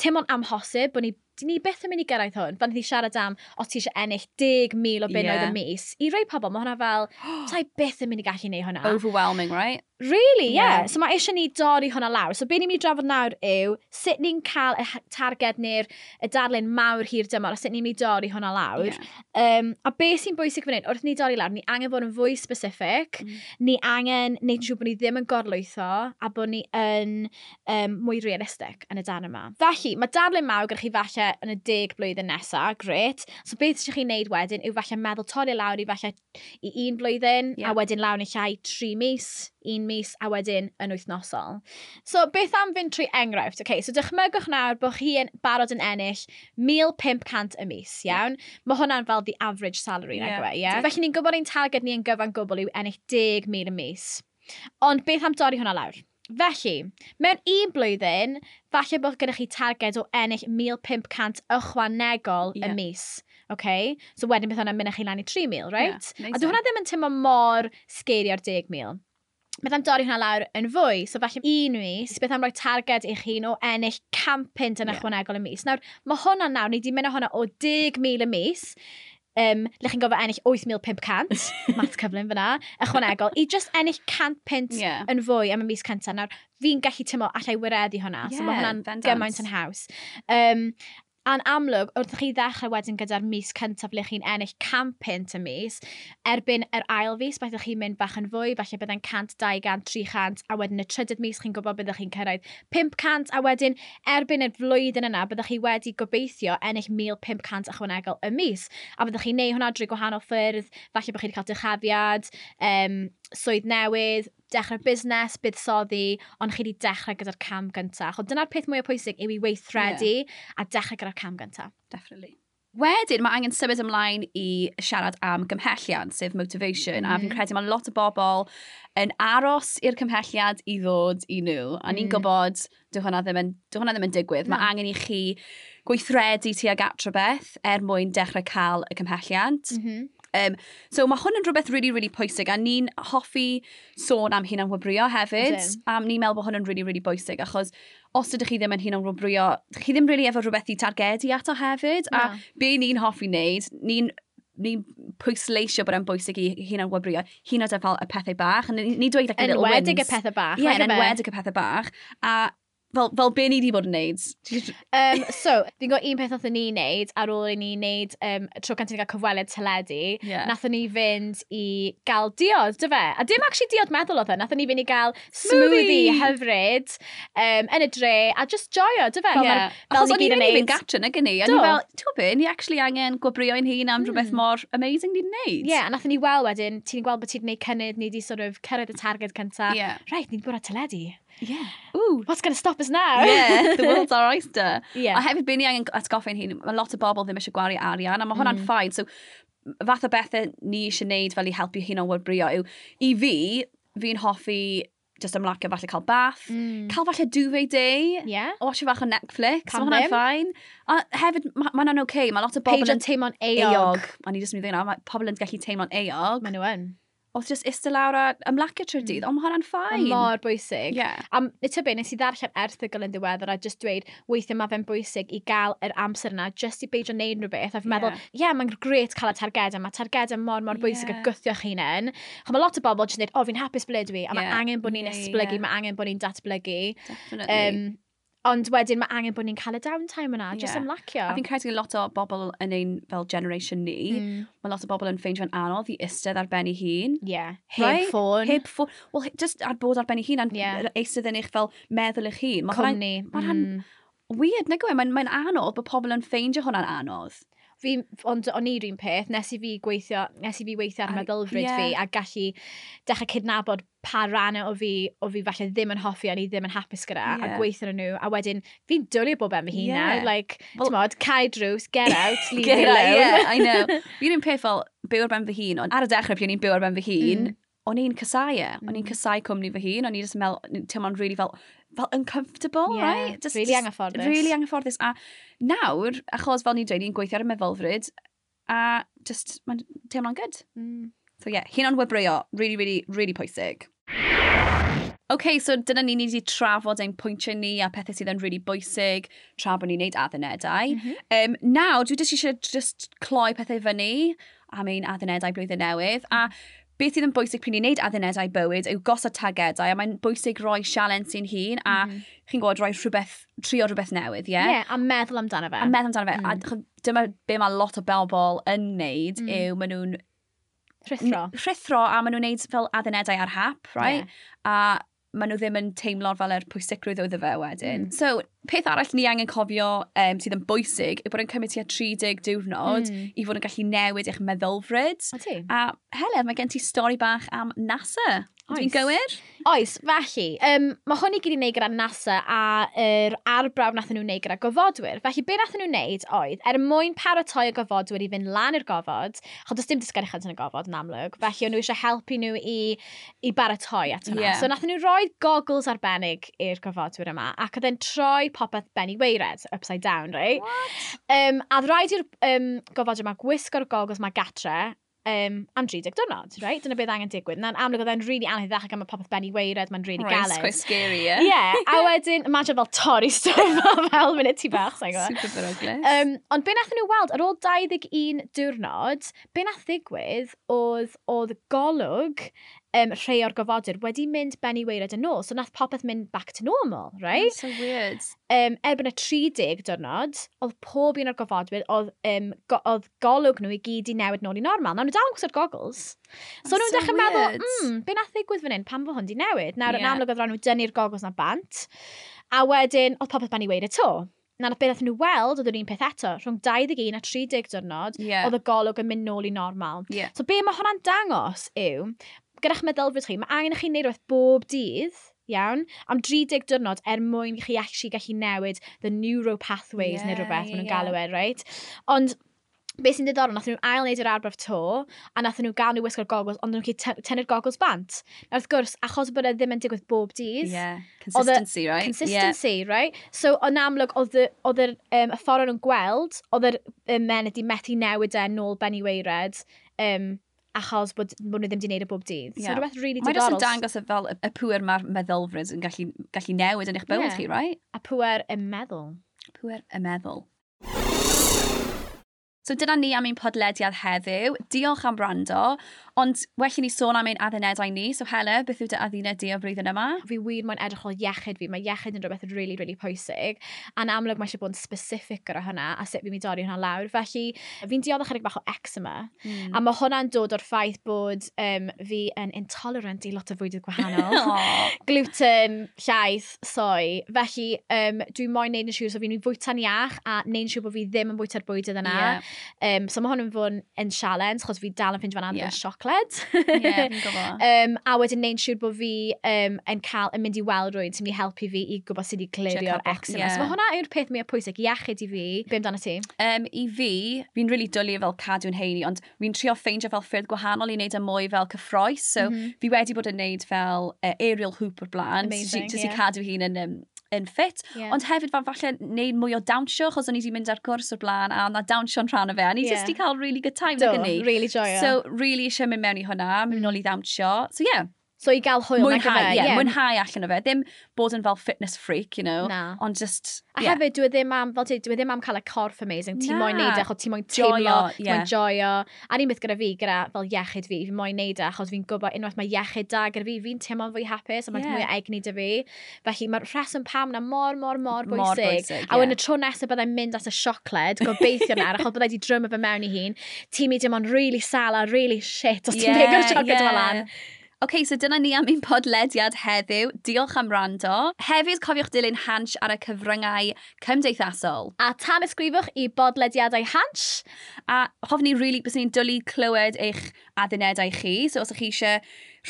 Speaker 1: teimlo'n amhosib bod ni dyn ni beth yn mynd i gyrraedd hwn. Fan ni siarad am, os ti eisiau ennill 10,000 o bunnoedd y
Speaker 2: Ie.
Speaker 1: mis. I rei pobl, mae hwnna fel,
Speaker 2: Oh.
Speaker 1: ta i beth yn mynd i gallu neud hwnna.
Speaker 2: Overwhelming, right?
Speaker 1: Really, yeah.
Speaker 2: Ie.
Speaker 1: So mae eisiau ni dorri hwnna lawr. So be ni'n mynd i drafod nawr yw sut ni'n cael y ha- targed neu'r y darlun mawr hir dymor a sut ni'n mynd i dorri hwnna lawr.
Speaker 2: Ie.
Speaker 1: Um, a be sy'n bwysig fan hyn, wrth ni dorri lawr, ni angen bod yn fwy specific,
Speaker 2: Mm.
Speaker 1: ni angen neud yn siŵr bod ni ddim yn gorlwytho a bod ni yn um, mwy realistig yn y dan yma. Felly, mae darlun mawr gyda chi falle yn y deg blwyddyn nesaf, gret. So beth sy'n chi'n neud wedyn yw falle meddwl torri lawr i falle i un blwyddyn,
Speaker 2: Ie.
Speaker 1: a wedyn lawn i llai tri mis, un mis, a wedyn yn wythnosol. So, beth am fynd trwy enghraifft? Okay, so, dychmygwch nawr bod chi yn barod yn ennill 1,500 y mis, iawn? Mae hwnna'n fel the average salary,
Speaker 2: Ie.
Speaker 1: yeah. nag yw e, ie? Felly, ni'n gwybod ein targed ni yn gyfan gwbl yw ennill 10,000 y mis. Ond beth am dorri hwnna lawr? Felly, mewn un blwyddyn, falle bod gennych chi targed o ennill 1,500 ychwanegol
Speaker 2: Ie.
Speaker 1: y mis. Okay? So wedyn beth hwnna'n mynd â chi lan i 3,000, right?
Speaker 2: neis
Speaker 1: A dwi
Speaker 2: e.
Speaker 1: hwnna ddim yn tymlo mor sgeri ar 10,000. Beth am dorri hwnna lawr yn fwy, so falle un mis, beth am roi targed i chi o ennill campynt yn
Speaker 2: Ie.
Speaker 1: ychwanegol y mis. Nawr, mae hwnna nawr, ni di mynd â hwnna o 10,000 y mis, um, le chi'n gofio ennill 8,500, mat cyflym fyna, ychwanegol, i just ennill 100 pint
Speaker 2: Ie.
Speaker 1: yn fwy am y mis cyntaf. Nawr, fi'n gallu tymlo allai wireddu hwnna, so mae
Speaker 2: Ie,
Speaker 1: hwnna'n
Speaker 2: bendant.
Speaker 1: gymaint yn haws. Um, a'n amlwg, wrth i chi ddechrau wedyn gyda'r mis cyntaf le chi'n ennill 100 pint y mis, erbyn yr ail fus, byddwch chi'n mynd bach yn fwy, falle byddai'n 100, 200, 300, a wedyn y trydydd mis chi'n gwybod byddwch chi'n cyrraedd 500, a wedyn erbyn y flwyddyn yna, byddwch chi wedi gobeithio ennill 1,500 ychwanegol y mis. A byddwch chi'n neud hwnna drwy gwahanol ffyrdd, falle byddwch chi wedi cael dychafiad, um, swydd newydd, dechrau busnes, buddsoddi, ond chi wedi dechrau gyda'r cam gyntaf. Chod, dyna'r peth mwyaf pwysig yw i weithredu yeah. a dechrau gyda'r cam gyntaf.
Speaker 2: Definitely. Wedyn, mae angen symud ymlaen i siarad am gymhelliad, sef motivation, a fi'n
Speaker 1: Mhm.
Speaker 2: credu mae lot o bobl yn aros i'r cymhelliad i ddod i nhw, a ni'n
Speaker 1: Mm.
Speaker 2: gwybod, dyw hwnna ddim yn, dyw hwnna ddim yn digwydd,
Speaker 1: Na.
Speaker 2: mae angen i chi gweithredu tuag at rhywbeth er mwyn dechrau cael y cymhelliad.
Speaker 1: Mm -hmm.
Speaker 2: Um, so mae hwn yn rhywbeth really, really pwysig a ni'n hoffi sôn am hunan wybrio hefyd.
Speaker 1: Ydyn.
Speaker 2: A ni'n meddwl bod hwn yn really, really bwysig achos os ydych chi ddim yn hunan wybrio, ydych chi ddim really efo rhywbeth i targedu ato hefyd.
Speaker 1: Na.
Speaker 2: A be ni'n hoffi wneud, ni'n ni'n pwysleisio bod e'n bwysig i hunan wybrio, hyn oedd fel y pethau bach, a ni, ni dweud like y little wins.
Speaker 1: Enwedig y pethau bach.
Speaker 2: Ie,
Speaker 1: nag
Speaker 2: yn
Speaker 1: yfe?
Speaker 2: enwedig y pethau bach. A fel, fel be ni di bod yn neud.
Speaker 1: Um, so, fi'n gwybod un peth nath ni wneud ar ôl i ni wneud um, tro cyntaf i gael cyfweliad teledu.
Speaker 2: Ie.
Speaker 1: Nath ni fynd i gael diod, dy fe? A dim actually diod meddwl oedd e. Nath ni fynd i gael smoothie
Speaker 2: Smoothie!
Speaker 1: hyfryd um, yn y dre a just joio, dy fe? Fel
Speaker 2: Ie.
Speaker 1: ma'r-
Speaker 2: Achos
Speaker 1: ni
Speaker 2: o'n
Speaker 1: gyd yn
Speaker 2: i'n mynd i
Speaker 1: neud.
Speaker 2: fynd gatre na gynnu. O'n
Speaker 1: Do.
Speaker 2: i fel, ti'n gwybod, ni actually angen gwobrio'n hun am rhywbeth
Speaker 1: Mm.
Speaker 2: mor amazing ni'n neud.
Speaker 1: Ie, yeah, a nath ni weld wedyn, ti'n gweld bod ti'n gwneud cynnydd, ni wedi sort of cyrraedd y targed cyntaf.
Speaker 2: Yeah.
Speaker 1: Right, ni'n bwrdd teledu.
Speaker 2: Yeah. Ooh.
Speaker 1: What's going to stop us now?
Speaker 2: Yeah, the world's our oyster.
Speaker 1: yeah.
Speaker 2: A hefyd, byd ni angen atgoffa'n hun, mae lot o bobl ddim eisiau gwario arian, a mae hwnna'n
Speaker 1: Mm.
Speaker 2: ffain. So, fath o bethau ni eisiau neud fel i helpu hun o'n wybrio yw, i fi, fi'n hoffi just ymlacio falle cael bath,
Speaker 1: Mm.
Speaker 2: cael falle duvet day,
Speaker 1: Yeah.
Speaker 2: watch bach o Netflix,
Speaker 1: Pam
Speaker 2: mae hwnna'n
Speaker 1: ddim?
Speaker 2: ffain. A hefyd, mae ma hwnna'n oce, okay. mae lot o bobl
Speaker 1: Peidio teimlo'n eog.
Speaker 2: eog. A ni jyst yn mynd i ddweud, mae pobl yn gallu teimlo'n eog.
Speaker 1: Mae nhw Mm. yn.
Speaker 2: Oedd jyst ista lawr a ymlacio trwy'r dydd, ond mae hwnna'n
Speaker 1: Mae
Speaker 2: ffain.
Speaker 1: mor bwysig.
Speaker 2: Yeah.
Speaker 1: A m- eto be, nes i ddarllen erthygl yn diweddar a just dweud, weithio mae fe'n bwysig i gael yr amser yna, just i beidio neud rhywbeth. A fi'n meddwl, ie, yeah, mae'n gret cael y targedau, mae targedau mor, mor bwysig
Speaker 2: Ie.
Speaker 1: a gwthio chi hunain. Chos mae lot o bobl jyst yn dweud, o, fi'n hapus ble dwi, a mae
Speaker 2: Ie.
Speaker 1: angen bod ni'n
Speaker 2: Ie, ie,
Speaker 1: esblygu,
Speaker 2: ie.
Speaker 1: mae angen bod ni'n datblygu.
Speaker 2: Definitely. Um,
Speaker 1: Um, ond wedyn mae angen bod ni'n cael y downtime yna, just
Speaker 2: Ie.
Speaker 1: ymlacio.
Speaker 2: a fi'n credu lot o bobl yn ein fel generation ni, mm.
Speaker 1: Mm,
Speaker 2: mae lot o bobl yn ffeindio'n anodd i istedd ar ben ei hun.
Speaker 1: yeah.
Speaker 2: Right?
Speaker 1: Heb ffôn,
Speaker 2: Heb ffwr... Wel, he- just ar bod ar ben ei hun, a'n
Speaker 1: Ie.
Speaker 2: yeah. eistedd yn eich fel meddwl eich hun. Mae hwnna'n
Speaker 1: cwmni.
Speaker 2: ma' hwnna'n-
Speaker 1: mm.
Speaker 2: weird, nag yw e? Mae'n mae anodd bod pobl yn ffeindio hwnna'n anodd.
Speaker 1: fi, ond o'n i'r un peth, nes i fi gweithio, nes i fi weithio ar
Speaker 2: Ar-
Speaker 1: meddylfryd
Speaker 2: ie.
Speaker 1: fi a gallu dechrau cydnabod pa rannau o fi, o fi falle ddim yn hoffi a ni ddim yn hapus gyda
Speaker 2: Ie.
Speaker 1: a gweithio ar nhw a wedyn fi'n dwlu bob am fy hun
Speaker 2: Ie.
Speaker 1: nawr, like,
Speaker 2: Wel-
Speaker 1: well, mod, Kai Drws, get out, leave
Speaker 2: Get
Speaker 1: me
Speaker 2: out,
Speaker 1: alone.
Speaker 2: yeah, I know. Fi'n un peth fel byw ar ben fy hun, ond ar y dechrau pwy ni'n byw ar ben fy hun,
Speaker 1: Mm.
Speaker 2: o'n i'n casau e. O'n i'n
Speaker 1: Mm.
Speaker 2: casau cwmni fy hun, o'n i'n just mel, teimlo'n really fel, fel uncomfortable,
Speaker 1: Ie,
Speaker 2: right? Just,
Speaker 1: really anghyfforddus.
Speaker 2: Really anghyfforddus. A nawr, achos fel ni'n dweud, ni'n gweithio ar y meddylfryd, a just, mae'n teimlo'n good.
Speaker 1: Mm.
Speaker 2: So yeah, hunan wybryo, really, really, really pwysig. OK, so dyna ni ni wedi trafod ein pwyntiau ni a pethau sydd yn really bwysig tra bod ni'n neud addunedau.
Speaker 1: Mhm.
Speaker 2: Um, naw, dwi jyst eisiau just cloi pethau fyny am ein addunedau blwyddyn newydd. A beth sydd yn bwysig pryd ni'n neud addunedau bywyd yw gosod targedau a mae'n bwysig roi sialens i'n hun a
Speaker 1: Mhm.
Speaker 2: chi'n gwybod roi rhywbeth, trio rhywbeth newydd, ie?
Speaker 1: Ie, a meddwl amdano fe.
Speaker 2: A meddwl amdano fe. A
Speaker 1: Mm.
Speaker 2: chw- dyma be mae lot o bobl yn neud
Speaker 1: Mm.
Speaker 2: yw maen nhw'n
Speaker 1: Rhithro.
Speaker 2: rhithro a maen nhw'n neud fel addunedau ar hap, right? Yeah. A maen nhw ddim yn teimlo fel yr pwysigrwydd oedd y fe wedyn.
Speaker 1: Mm.
Speaker 2: So, peth arall ni angen cofio um, sydd yn bwysig yw bod yn cymryd tua 30 diwrnod
Speaker 1: Mm.
Speaker 2: i fod yn gallu newid eich meddylfryd.
Speaker 1: O ti?
Speaker 2: A Helen, mae gen ti stori bach am NASA. Dwi'n gywir?
Speaker 1: Oes, felly, um, mae hwn i gyd i wneud gyda NASA a yr arbrawf nath nhw wneud gyda gofodwyr. Felly, be nath nhw wneud oedd, er mwyn paratoi y gofodwyr i fynd lan i'r gofod, chod does dim disgyrchedd yn y gofod yn amlwg, felly o'n nhw eisiau helpu nhw i, i baratoi at hwnna.
Speaker 2: Ie.
Speaker 1: So, nath nhw roi goggles arbennig i'r gofodwyr yma, ac oedd e'n troi popeth Benny Weired, upside down, right? Um, a rhaid i'r um, gofod yma gwisgo'r goggles mae gatre, um, am 30 diwrnod, right? Dyna beth angen digwydd. Na'n amlwg oedd e'n rili anoddach ac am y popeth Benny Weired, mae'n rili
Speaker 2: Right, it's
Speaker 1: galed.
Speaker 2: quite scary,
Speaker 1: Ie,
Speaker 2: ie.
Speaker 1: yeah, a wedyn, imagine fel torri stwff o fel munud ti bach, sa'n gwybod.
Speaker 2: Super beryglus.
Speaker 1: Um, ond be nath nhw weld, ar ôl 21 diwrnod, be nath ddigwydd oedd, oedd golwg um, rhai o'r gofodur wedi mynd Benny Weired yn ôl, so nath popeth mynd back to normal, right?
Speaker 2: So weird.
Speaker 1: um, erbyn y 30 diwrnod, oedd pob un o'r gofodwyr, oedd, um, go, oedd golwg nhw i gyd i newid nôl i normal. Nawr nhw dal yn gwisgo'r goggles. So
Speaker 2: That's
Speaker 1: nhw'n
Speaker 2: so
Speaker 1: dechrau meddwl,
Speaker 2: weird.
Speaker 1: mm, be nath ddigwydd fan hyn, pan fo hwn di newid? Nawr yn
Speaker 2: Ie.
Speaker 1: amlwg oedd rhan nhw dynnu'r goggles na bant. A wedyn, oedd popeth ban i weid y to. Na beth nath nhw weld, oedd yr un peth eto, rhwng 21 a 30 diwrnod,
Speaker 2: Ie.
Speaker 1: oedd y golwg yn mynd nôl i normal.
Speaker 2: Ie.
Speaker 1: So be mae hwnna'n dangos yw, gyda'ch meddylfryd chi, mae angen i chi wneud rhywbeth bob dydd, iawn, am 30 diwrnod er mwyn i chi actually gallu newid the neuropathways neu
Speaker 2: Ie,
Speaker 1: rhywbeth,
Speaker 2: ie,
Speaker 1: maen nhw'n
Speaker 2: ie.
Speaker 1: galw e, right? Ond beth sy'n diddorol, nath nhw ail wneud yr arbrawf to, a nath nhw gael nhw wisgo'r goggles, ond nhw'n gallu tynnu'r goggles bant. A wrth gwrs, achos bod e ddim yn digwydd bob dydd,
Speaker 2: Yeah.
Speaker 1: Oedd y-
Speaker 2: Consistency, right?
Speaker 1: consistency, right? So, o'n amlwg, oedd y, oedd yr, um, y ffordd o'n nhw'n gweld, oedd yr um, men wedi methu newid e'n nôl Benny Weired, um, achos bod, bod nhw ddim wedi gwneud y bob dydd.
Speaker 2: Ie.
Speaker 1: So, rhywbeth really
Speaker 2: Mae jyst yn
Speaker 1: diddorol.
Speaker 2: dangos y fel y y pŵer mae'r meddylfryd yn gallu, gallu newid yn eich bywyd
Speaker 1: Ie.
Speaker 2: chi, right?
Speaker 1: A pwer y meddwl.
Speaker 2: Pŵer y meddwl. So dyna ni am ein podlediad heddiw. Diolch am brando, ond well i ni sôn am ein addunedau ni. So Helen, beth yw dy adduned di o flwyddyn yma?
Speaker 1: Fi wir moyn edrych o iechyd fi. Mae iechyd yn rhywbeth really, really pwysig. A'n amlwg mae eisiau bod yn specific gyda hwnna a sut fi'n mynd i dorri hwnna lawr. Felly, fi'n dioddach chydig bach o eczema.
Speaker 2: Mm.
Speaker 1: A mae hwnna'n dod o'r ffaith bod um, fi yn intolerant i lot o fwydydd gwahanol.
Speaker 2: Aw.
Speaker 1: gluten, llaeth, soy. Felly, um, dwi moyn neud yn siŵr, so fi'n mynd fwyta'n iach a neud yn siŵr bod fi ddim yn bwyta'r bwydydd yna.
Speaker 2: Ie,
Speaker 1: Um, so mae hwn yn fod yn challenge, chos fi dal yn ffindio fan
Speaker 2: Ie.
Speaker 1: yeah. siocled.
Speaker 2: ie, fi'n gwybod.
Speaker 1: um, a wedyn neud yn siŵr bod fi um, yn, cael, yn mynd i weld rwy'n sy'n mynd i helpu fi i gwybod sut i glirio'r
Speaker 2: Check up,
Speaker 1: eczema.
Speaker 2: ie.
Speaker 1: So mae hwnna yw'r peth mwyaf pwysig, iechyd i fi. Be amdano ti?
Speaker 2: Um, I fi, fi'n really dwlu fel cadw'n heini, ond fi'n trio ffeindio fel ffyrdd gwahanol i wneud y mwy fel cyffroes. So mm
Speaker 1: Mhm.
Speaker 2: -hmm. fi wedi bod yn wneud fel uh, aerial hoop o'r blaen, jyst i-
Speaker 1: Amazing,
Speaker 2: jyst i
Speaker 1: ie.
Speaker 2: cadw hi'n yn, um, yn fit.
Speaker 1: Ie.
Speaker 2: Ond hefyd fan falle wneud mwy o dawnsio, achos o'n i wedi mynd ar gwrs o'r blaen, a na dawnsio'n rhan o fe, a ni
Speaker 1: Ie.
Speaker 2: jyst i cael really good time
Speaker 1: Do,
Speaker 2: gyda ni.
Speaker 1: really joio. So,
Speaker 2: So, really eisiau mynd mewn i hwnna,
Speaker 1: Mm.
Speaker 2: mynd nôl i ddawnsio. So, yeah,
Speaker 1: so i gael hwyl,
Speaker 2: mwynhau,
Speaker 1: ie.
Speaker 2: yeah, mwynhau allan o fe. Ddim bod yn fel fitness freak, you know,
Speaker 1: Na.
Speaker 2: ond just,
Speaker 1: A
Speaker 2: yeah,
Speaker 1: hefyd, dwi ddim am, fel ti, dwi e ddim am cael y corff amazing. Ti
Speaker 2: Na.
Speaker 1: moyn neud e, achos ti moyn
Speaker 2: Joio,
Speaker 1: teimlo, ti
Speaker 2: ie.
Speaker 1: moyn joio. A'r un beth gyda fi, gyda fel iechyd fi, fi moyn neud e, achos fi'n gwybod unwaith mae iechyd da gyda fi, fi'n teimlo'n fwy hapus, a mae'n
Speaker 2: Ie.
Speaker 1: mwy o egni dy fi. Felly mae'r rheswm pam na mor, mor, mor bwysig.
Speaker 2: Mor
Speaker 1: A
Speaker 2: bwysig, ie.
Speaker 1: wedyn y tro nesaf byddai'n mynd at y siocled, gobeithio na, achos byddai di drym fy mewn i hun, ti'n mynd dim ond really sala, really shit, os ti'n big o'r siocled yma lan.
Speaker 2: OK, so dyna ni am ein podlediad heddiw. Diolch am rando. Hefyd, cofiwch dilyn Hansh ar y cyfryngau cymdeithasol.
Speaker 1: A tan ysgrifwch i bodlediadau hans,
Speaker 2: A hoffi ni rili, really, bys ni'n dwlu clywed eich addunedau chi. So os ych chi eisiau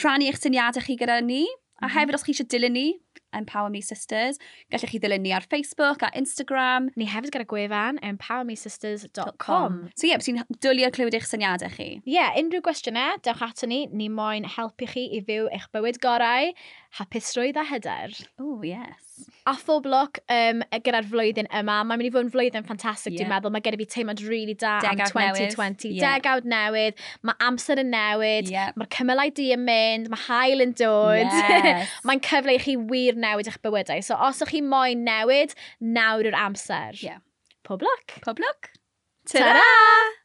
Speaker 2: rhannu eich syniadau chi gyda ni, a
Speaker 1: Mhm.
Speaker 2: hefyd os chi eisiau dilyn ni, Empower Me Sisters, gallech chi ddilyn ni ar Facebook a Instagram.
Speaker 1: ni hefyd gyda gwefan empowermesisters.com.
Speaker 2: So ie, yeah, bys ni'n dwlu clywed eich syniadau
Speaker 1: Ie,
Speaker 2: chi.
Speaker 1: yeah, unrhyw gwestiynau, dewch ato ni, ni moyn helpu chi i fyw eich bywyd gorau, hapusrwydd a hyder.
Speaker 2: Oh, yes.
Speaker 1: A phob look um, gyda'r flwyddyn yma, mae'n mynd i fod yn flwyddyn ffantastig,
Speaker 2: Ie.
Speaker 1: dwi'n meddwl. Mae gen i fi teimlad really da am
Speaker 2: Degawd newydd.
Speaker 1: 2020.
Speaker 2: Ie.
Speaker 1: Degawd newydd, mae amser yn newid,
Speaker 2: Ie.
Speaker 1: mae'r cymylau di yn mynd, mae hael yn dod.
Speaker 2: Yes.
Speaker 1: mae'n cyfle i chi wir newid eich bywydau. So os ych chi moyn newid, nawr yw'r amser.
Speaker 2: Ie.
Speaker 1: Pob look!
Speaker 2: Pob lwc.
Speaker 1: Ta-ra!